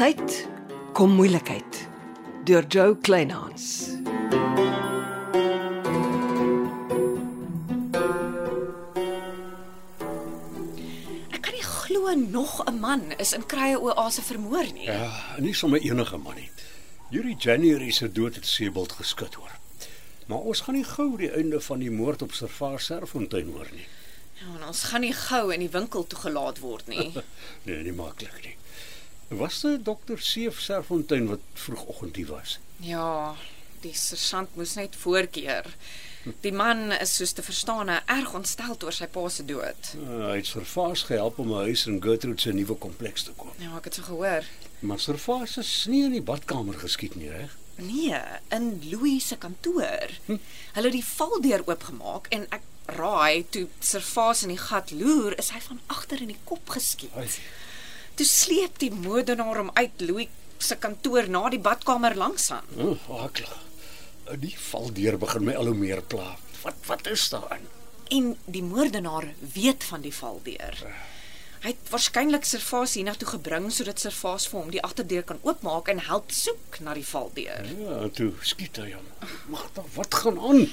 Uit kom moeilikheid deur Joe Kleinhans. Ek kan nie glo nog 'n man is in krye oase vermoor nie. Ja, nie sommer enige man nie. Yuri January se dood het Sebald geskit hoor. Maar ons gaan nie gou die einde van die moord op Servaar Serfontein hoor nie. Ja, en ons gaan nie gou in die winkel toegelaat word nie. Nee, nie maklik nie. Was dit dokter Seef Serfontein wat vroegoggend hier was? Ja, die sergeant moes net voorkeer. Die man is soos te verstaan erg ontsteld oor sy pa se dood. Uh, hy het Servaas gehelp om 'n huis in Gertrude se nuwe kompleks te koop. Ja, ek het so gehoor. Maar Servaas is nie in die badkamer geskiet nie, reg? Nee, in Louis se kantoor. Hulle het die valdeur oopgemaak en ek raai toe Servaas in die gat loer, is hy van agter in die kop geskiet. Ai. Toe sleep die moordenaar hom uit Louis se kantoor na die badkamer langs aan. Oh, aklig. Uh, Die valdeur begin my al hoe meer pla. Wat wat is daaraan? En die moordenaar weet van die valdeur. Hy het waarskynlik Servaas hiernatoe gebring sodat Servaas vir hom die agterdeur kan oopmaak en help soek na die valdeur. Ja, en toe skiet hy hom. Magda, wat gaan aan?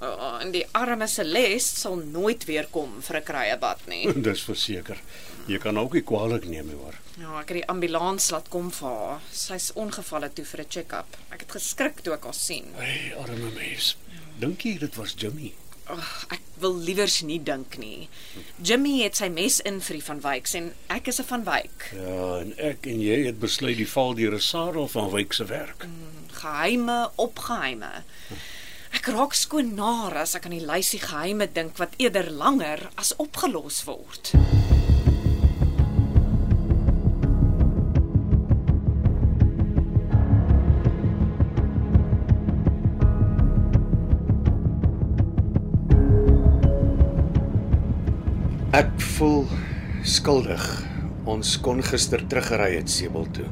Oh, en die arme Celeste sal nooit weer kom vir 'n kruiebad nie. Dis verseker. Jy kan ook nie kwaadlik neem nie, hoor. Ja, ek het die ambulans laat kom vir haar. Sy's ongevalle toe vir 'n check-up. Ek het geskrik toe ek haar sien. Hey, arme mens. Dink jy dit was Jimmy? Ag, ek wil liewers nie dink nie. Jimmy het sy mes in vir die van Wyk en ek is 'n van Wyk. Ja, en ek en jy het besluit die val deur 'n sadel van Wyk se werk. Geheime opgeheime. Ek raak skoon naar as ek aan die lysie geheime dink wat eerder langer as opgelos word. Ek voel skuldig. Ons kon gister teruggery het Sebel toe.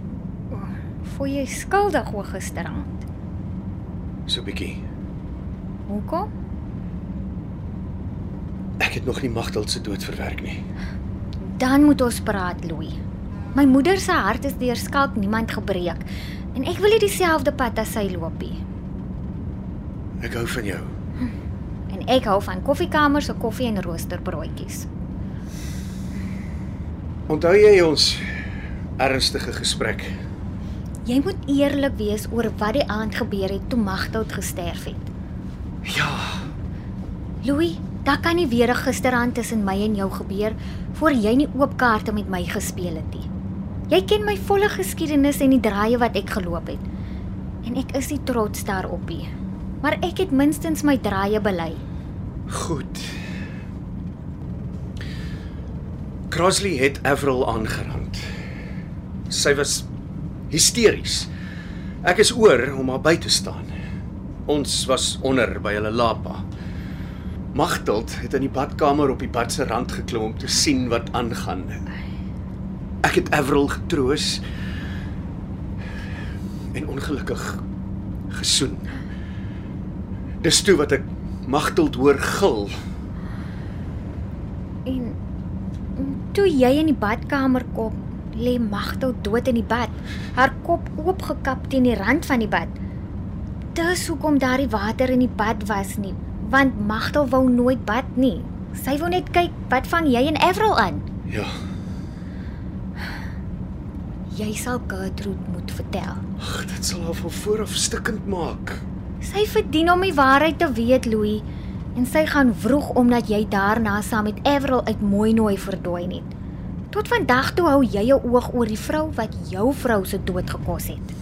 Voel jy skuldig oor gisterand? So bietjie. Hoekom? Ek het nog nie Magdal se dood verwerk nie. Dan moet ons praat, Louis. My moeder se hart is deur skalk niemand gebreek en ek wil nie dieselfde pad as sy loop nie. Ek hou van jou. En ek hou van koffiekamer se koffie en roosterbroodjies. Onthou jy ons ernstige gesprek? Jy moet eerlik wees oor wat die aand gebeur het toe Magdalt gesterf het. Ja. Louis, daar kan nie weer 'n gisterand tussen my en jou gebeur voor jy nie oop kaarte met my gespeel het nie. Jy ken my volle geskiedenis en die draaie wat ek geloop het. En ek is nie trots daarop nie. Maar ek het minstens my draaie bely. Goed. Crossley het Avril aangerand. Sy was hysteries. Ek is oor om haar by te staan. Ons was onder by hulle lapa. Magdalt het in die badkamer op die bad se rand geklim om te sien wat aangaan. Ek het Avril getroos en ongelukkig gesoen. Dis toe wat ek Magdalt hoor gil. En mm, toe jy in die badkamer kom, lê Magdal dood in die bad, haar kop oopgekap teen die rand van die bad. Dis hoekom daar die water in die bad was nie, want Magdal wou nooit bad nie. Sy wou net kyk wat vang jy en Avril aan. Ja, Jy sal Gertrude moet vertel. ag, dit sal haar van vooraf stikkend maak. Sy verdien om die waarheid te weet, Louis, en sy gaan vroeg omdat jy daarna saam met Avril uit mooi nooi verdwaai het. Tot vandag toe hou jy jou oog oor die vrou wat jou vrou se dood gekos het.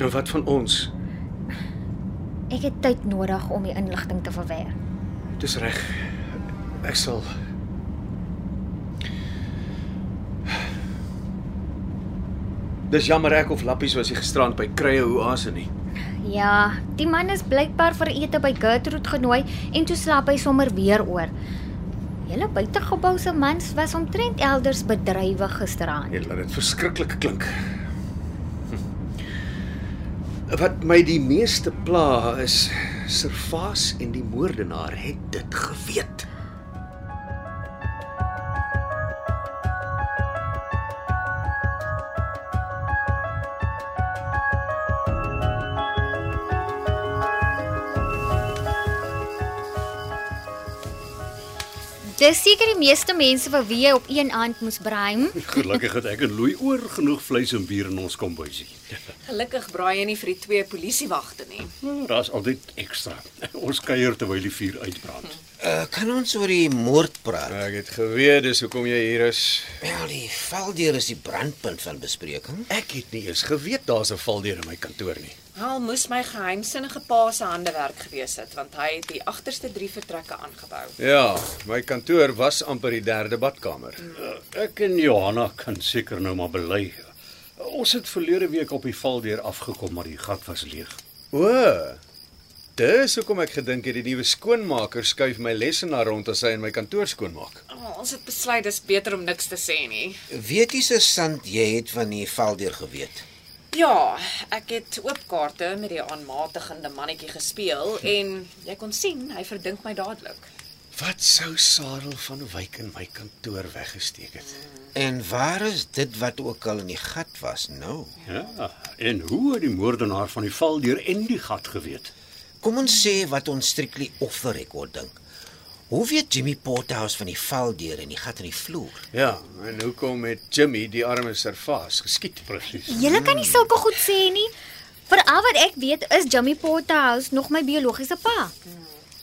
Nou wat van ons? Ek het tyd nodig om die inligting te verwerk. Dis reg. Ek sal Dis jammer ek of Lappies was hier gisterand by Krye Oase nie. Ja, die man is blykbaar vir ete by Gertrude genooi en toe slaap hy sommer weer oor. Julle buitegebou se mans was omtrent elders bedrywig gisteraand. Jy Nee, laat dit verskriklik klink. Hm. Wat my die meeste pla is Servaas en die moordenaar het dit geweet. Dis seker die meeste mense vir wie jy op een aand moes braai. Gelukkig het ek en Louis oor genoeg vleis en bier in ons kombuisie. Gelukkig braai jy nie vir die twee polisiewagte nie. Ja, Daar's altyd ekstra. Ons kuier terwyl die vuur uitbrand. Uh, kan ons oor die moord praat? Ek het geweet dis hoekom jy hier is. Wel, die veldeur is die brandpunt van bespreking. Ek het nie eens geweet daar's 'n valdeur in my kantoor nie. Al moes my geheimsinnige pa se handewerk gewees het want hy het die agterste 3 vertrekke aangebou. Ja, my kantoor was amper die derde badkamer. Uh, Ek en Johanna kan seker nou maar bely. Ons het verlede week op die valdeur afgekom, maar die gat was leeg. O. Dis hoekom ek gedink het die nuwe skoonmaker skuif my lesenaar rond as hy in my kantoor skoonmaak. Oh, ons het besluit dis beter om niks te sê nie. Weet jy se sand jy het van die veldeur geweet? Ja, ek het oopkaarte met die aanmatigende mannetjie gespeel en jy kon sien hy verdink my dadelik. Wat sou Sarel van Wyk in my kantoor weggesteek het? En waar is dit wat ook al in die gat was nou? Ja, en hoe het die moordenaar van die valdeur en die gat geweet? Kom ons sê wat ons strictly off the record dink. Hoe weet Jimmy Porterhouse van die veldeur en die gat in die vloer? Ja, en hoekom het Jimmy die arme servaas geskiet? Presies. Julle kan nie sulke goed sê nie. Vir al wat ek weet is Jimmy Porterhouse nog my biologiese pa.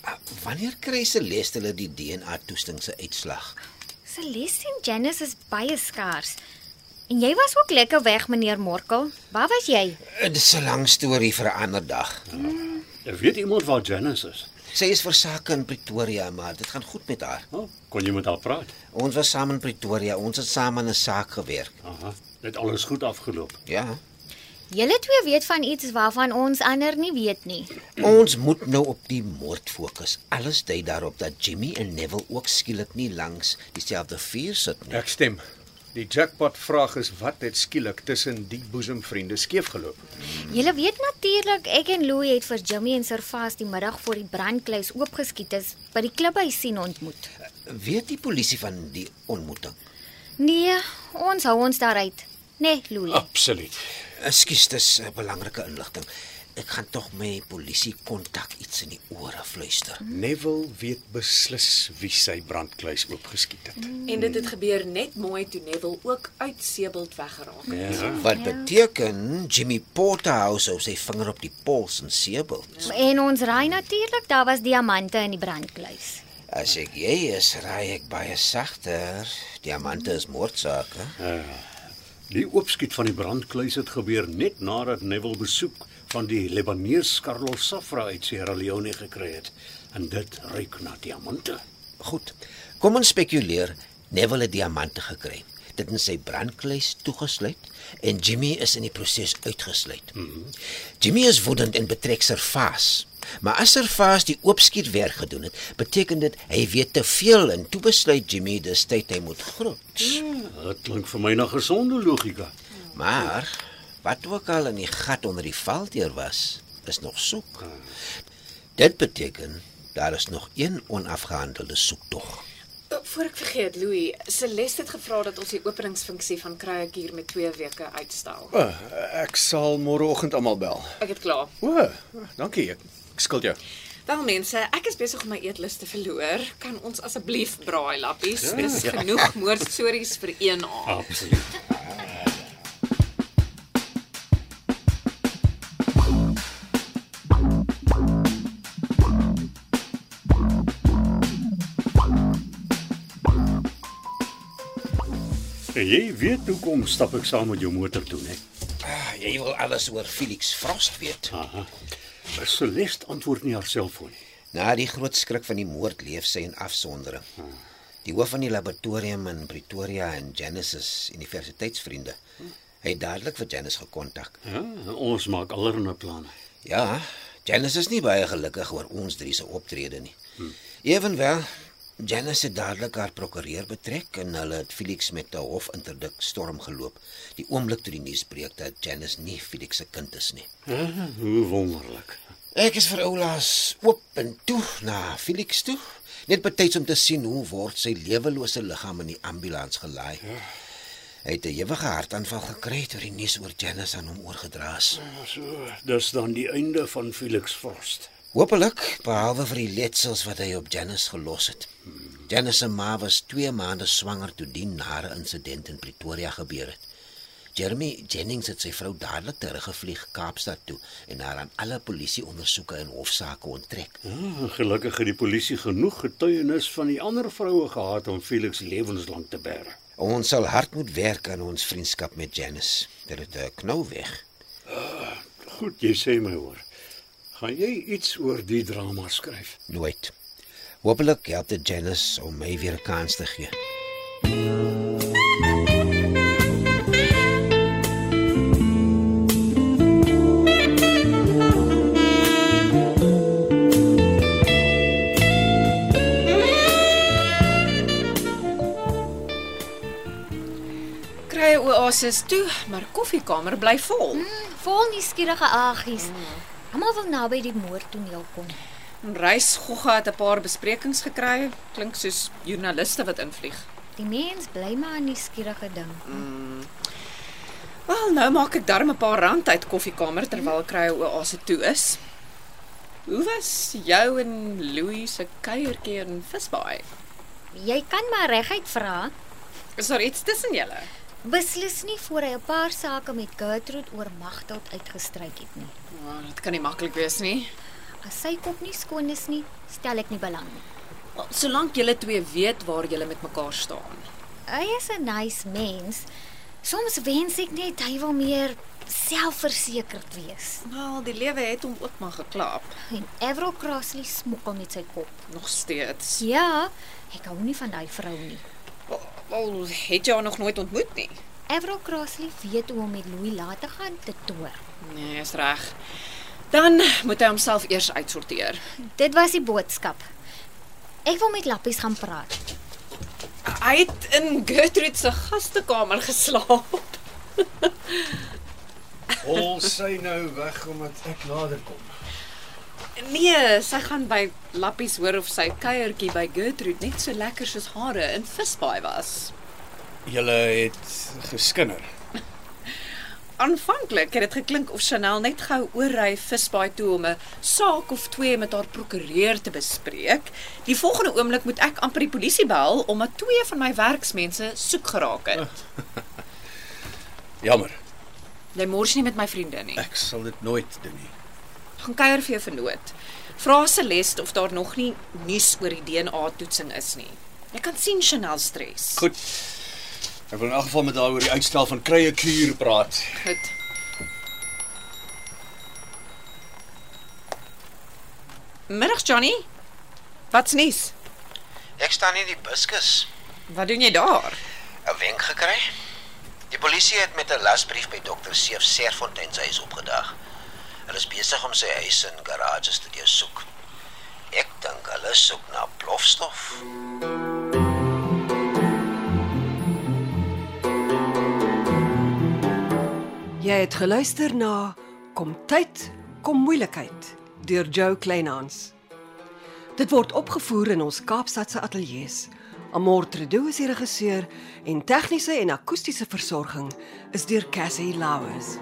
Uh, wanneer kry Celeste hulle die DNA toetsing se uitslag? Celeste en Janice is baie skaars. En jy was ook lekker weg, meneer Morkel. Waar was jy? Uh, dit is 'n lang storie vir 'n ander dag. Weet iemand waar Janice is? Sy is versake in Pretoria, maar dit gaan goed met haar. Oh, kon jy met haar praat? Ons was saam in Pretoria, ons het saam aan 'n saak gewerk. Aha. Dit alles goed afgeloop. Ja. Julle twee weet van iets waarvan ons ander nie weet nie. Ons moet nou op die moord fokus. Alles dui daarop dat Jimmy en Neville ook skielik nie langs dieselfde vuur sit nie. Ek stem. Die jackpot vraag is wat het skielik tussen die boesemvriende skeef geloop? Julle weet natuurlik ek en Louie het vir Jimmy en Servas die middag voor die brandkluis oopgeskiet is by die klubhuis sien ontmoet. Weet die polisie van die ontmoeting? Nee, ons hou ons daaruit. Nee, Louie. Ah. Absoluut. Ekskuus, dis 'n belangrike inligting. Ek gaan tog my polisie kontak iets in die ore fluister. Neville weet beslis wie sy brandkluis oopgeskiet het. En dit het gebeur net mooi toe Neville ook uit Sebelt weggeraak het. Ja. Wat beteken Jimmy Porterhouse hou sy vinger op die pols en seebel. En ons raai natuurlik daar was diamante in die brandkluis. As ek jy is, raai ek baie sagter. Diamante is moordsake. Die oopskiet van die brandkluis het gebeur net nadat Neville besoek van die Libanees Carlos Safra uit Sierra Leone gekry het. En dit ruik na diamante. Goed. Kom ons spekuleer. Neville het diamante gekry. Dit in sy brandkluis toegesluit en Jimmy is in die proses uitgesluit. Mm -hmm. Jimmy is woedend en betrek Servaas. Maar as Servaas die oopskietwerk gedoen het, beteken dit hy weet te veel en toe besluit Jimmy dis tyd hy moet groet. Dit klink vir my na gesonde logika. Maar wat ook al in die gat onder die veldeur was, is nog soek. Dit beteken daar is nog een onafgehandelde soektog. O, Eh, Voor ek vergeet, Louis, Celeste het gevra dat ons die openingsfunksie van Kruik hier met 2 weke uitstel. O, ek sal môreoggend almal bel. Ek het klaar. O, dankie. Ek, ek skuld jou. Wel mense, ek is besig om my eetlus te verloor. Kan ons asseblief braai lappies? Dis genoeg moordstories vir een aand. Absoluut. Jy weet hoekom stap ek saam met jou motor toe, né? Ah, jy wil alles oor Felix Frost weet. Aha. Celeste antwoord nie haar selfoon nie. Na die groot skrik van die moord leef sy in afsondering. Die hoof van die laboratorium in Pretoria en Genesis Universiteitsvriende. Hy het dadelik vir Janice gekontak. Ja, ons maak allerlei planne. Ja, Janice is nie baie gelukkig oor ons drie se optrede nie. Evenwel, Janice het dadelik haar prokureur betrek en hulle het Felix met 'n hofinterdik storm geloop. Die oomblik toe die nuus breek dat Janice nie Felix se kind is nie. Ja, hoe wonderlik. Ek is vir Oulaas oop en toe na Felix toe, net betyds om te sien hoe word sy lewelose liggaam in die ambulans gelaai. Hy het 'n ewige hartaanval gekry toe die nuus oor Janice aan hom oorgedra is. So, dis dan die einde van Felix Frost. Hoopelik, behalwe vir die letsels wat hy op Janice gelos het. Janice se ma was 2 maande swanger toe die nare insident in Pretoria gebeur het. Jeremy Jennings het sy vrou dadelik teruggevlieg Kaapstad toe en haar aan alle polisieondersoeke en hofsaake onttrek. Ah, gelukkig het die polisie genoeg getuienis van die ander vroue gehad om Felix lewenslank te bære. Ons sal hard moet werk aan ons vriendskap met Janice. Dit het eh, knou weg. Goed, jy sê my hoor. Gaan jy iets oor die drama skryf? Nooit. Hoopelik help dit Janice om my weer 'n kans te gee. Kry 'n oasis toe, maar koffiekamer bly vol. Vol nuuskierige aggies. Almal wil naby die moordtoneel kom. Hm? Reis Gogga het 'n paar besprekings gekry, klink soos joernaliste wat invlieg. Die mens bly maar 'n nuuskierige ding. Wel, nou maak ek darm 'n paar rand uit koffiekamer terwyl kry 'n oase toe is. Hoe was jou en Louis se kuiertjie in Visbaai? Jy kan maar reguit vra. Is daar iets tussen julle? Beslis nie voor hy 'n paar sake met Gertrude oor Magdalt uitgestryk het nie. Nou, dit kan nie maklik wees nie. As sy kop nie skoon is nie, stel ek nie belang nie. Wel, solank julle twee weet waar julle met mekaar staan. Hy is 'n nice mens. Soms wens ek net hy wil meer selfversekerd wees. Wel, die lewe het hom ook maar geklaap. En Avril Crossley smokkel met sy kop. Nog steeds. Ja, ek hou nie van daai vrou nie. Wel, Wel, het jy haar nog nooit ontmoet nie? Avril Crossley weet hoe om met Louis laat te gaan te toer. Nee, is reg. Dan moet hy homself eers uitsorteer. Dit was die boodskap. Ek wil met Lappies gaan praat. Hy het in Gertrude se gastekamer geslaap. Hol sy nou weg omdat ek nader kom. Nee, sy gaan by Lappies hoor of sy kuiertjie by Gertrude net so lekker soos hare in visbaai was. Julle het geskinder. Aanvanklik het dit geklink of Chanel net gou oorry visbaai toe om 'n saak of twee met haar prokureur te bespreek. Die volgende oomblik moet ek amper die polisie bel omdat twee van my werksmense soek geraak het. Jammer, Jy mors nie met my vriende nie. ek sal dit nooit doen nie. Gaan kuier vir jou vernoot. Vra Celeste of daar nog nie nuus oor die DNA-toetsing is nie. Jy kan sien Chanel stres. Goed. Ek wil in elk geval met haar oor die uitstel van krye kuur praat. Goed. Middag Johnny. Wat's nuus? Ek staan in die buskus. Wat doen jy daar? 'n wenk gekry. Die polisie het met 'n lasbrief by dokter Seef Serfontein se huis opgedag. Hulle is besig om sy huis en garages te deursoek. Ek dink hulle soek na plofstof. Jy het geluister na Kom tyd, kom moeilikheid deur Jo Kleinhans. Dit word opgevoer in ons Kaapstadse ateljees. Amortredo is die regisseur en tegniese en akoestiese versorging is deur Cassie Lauers.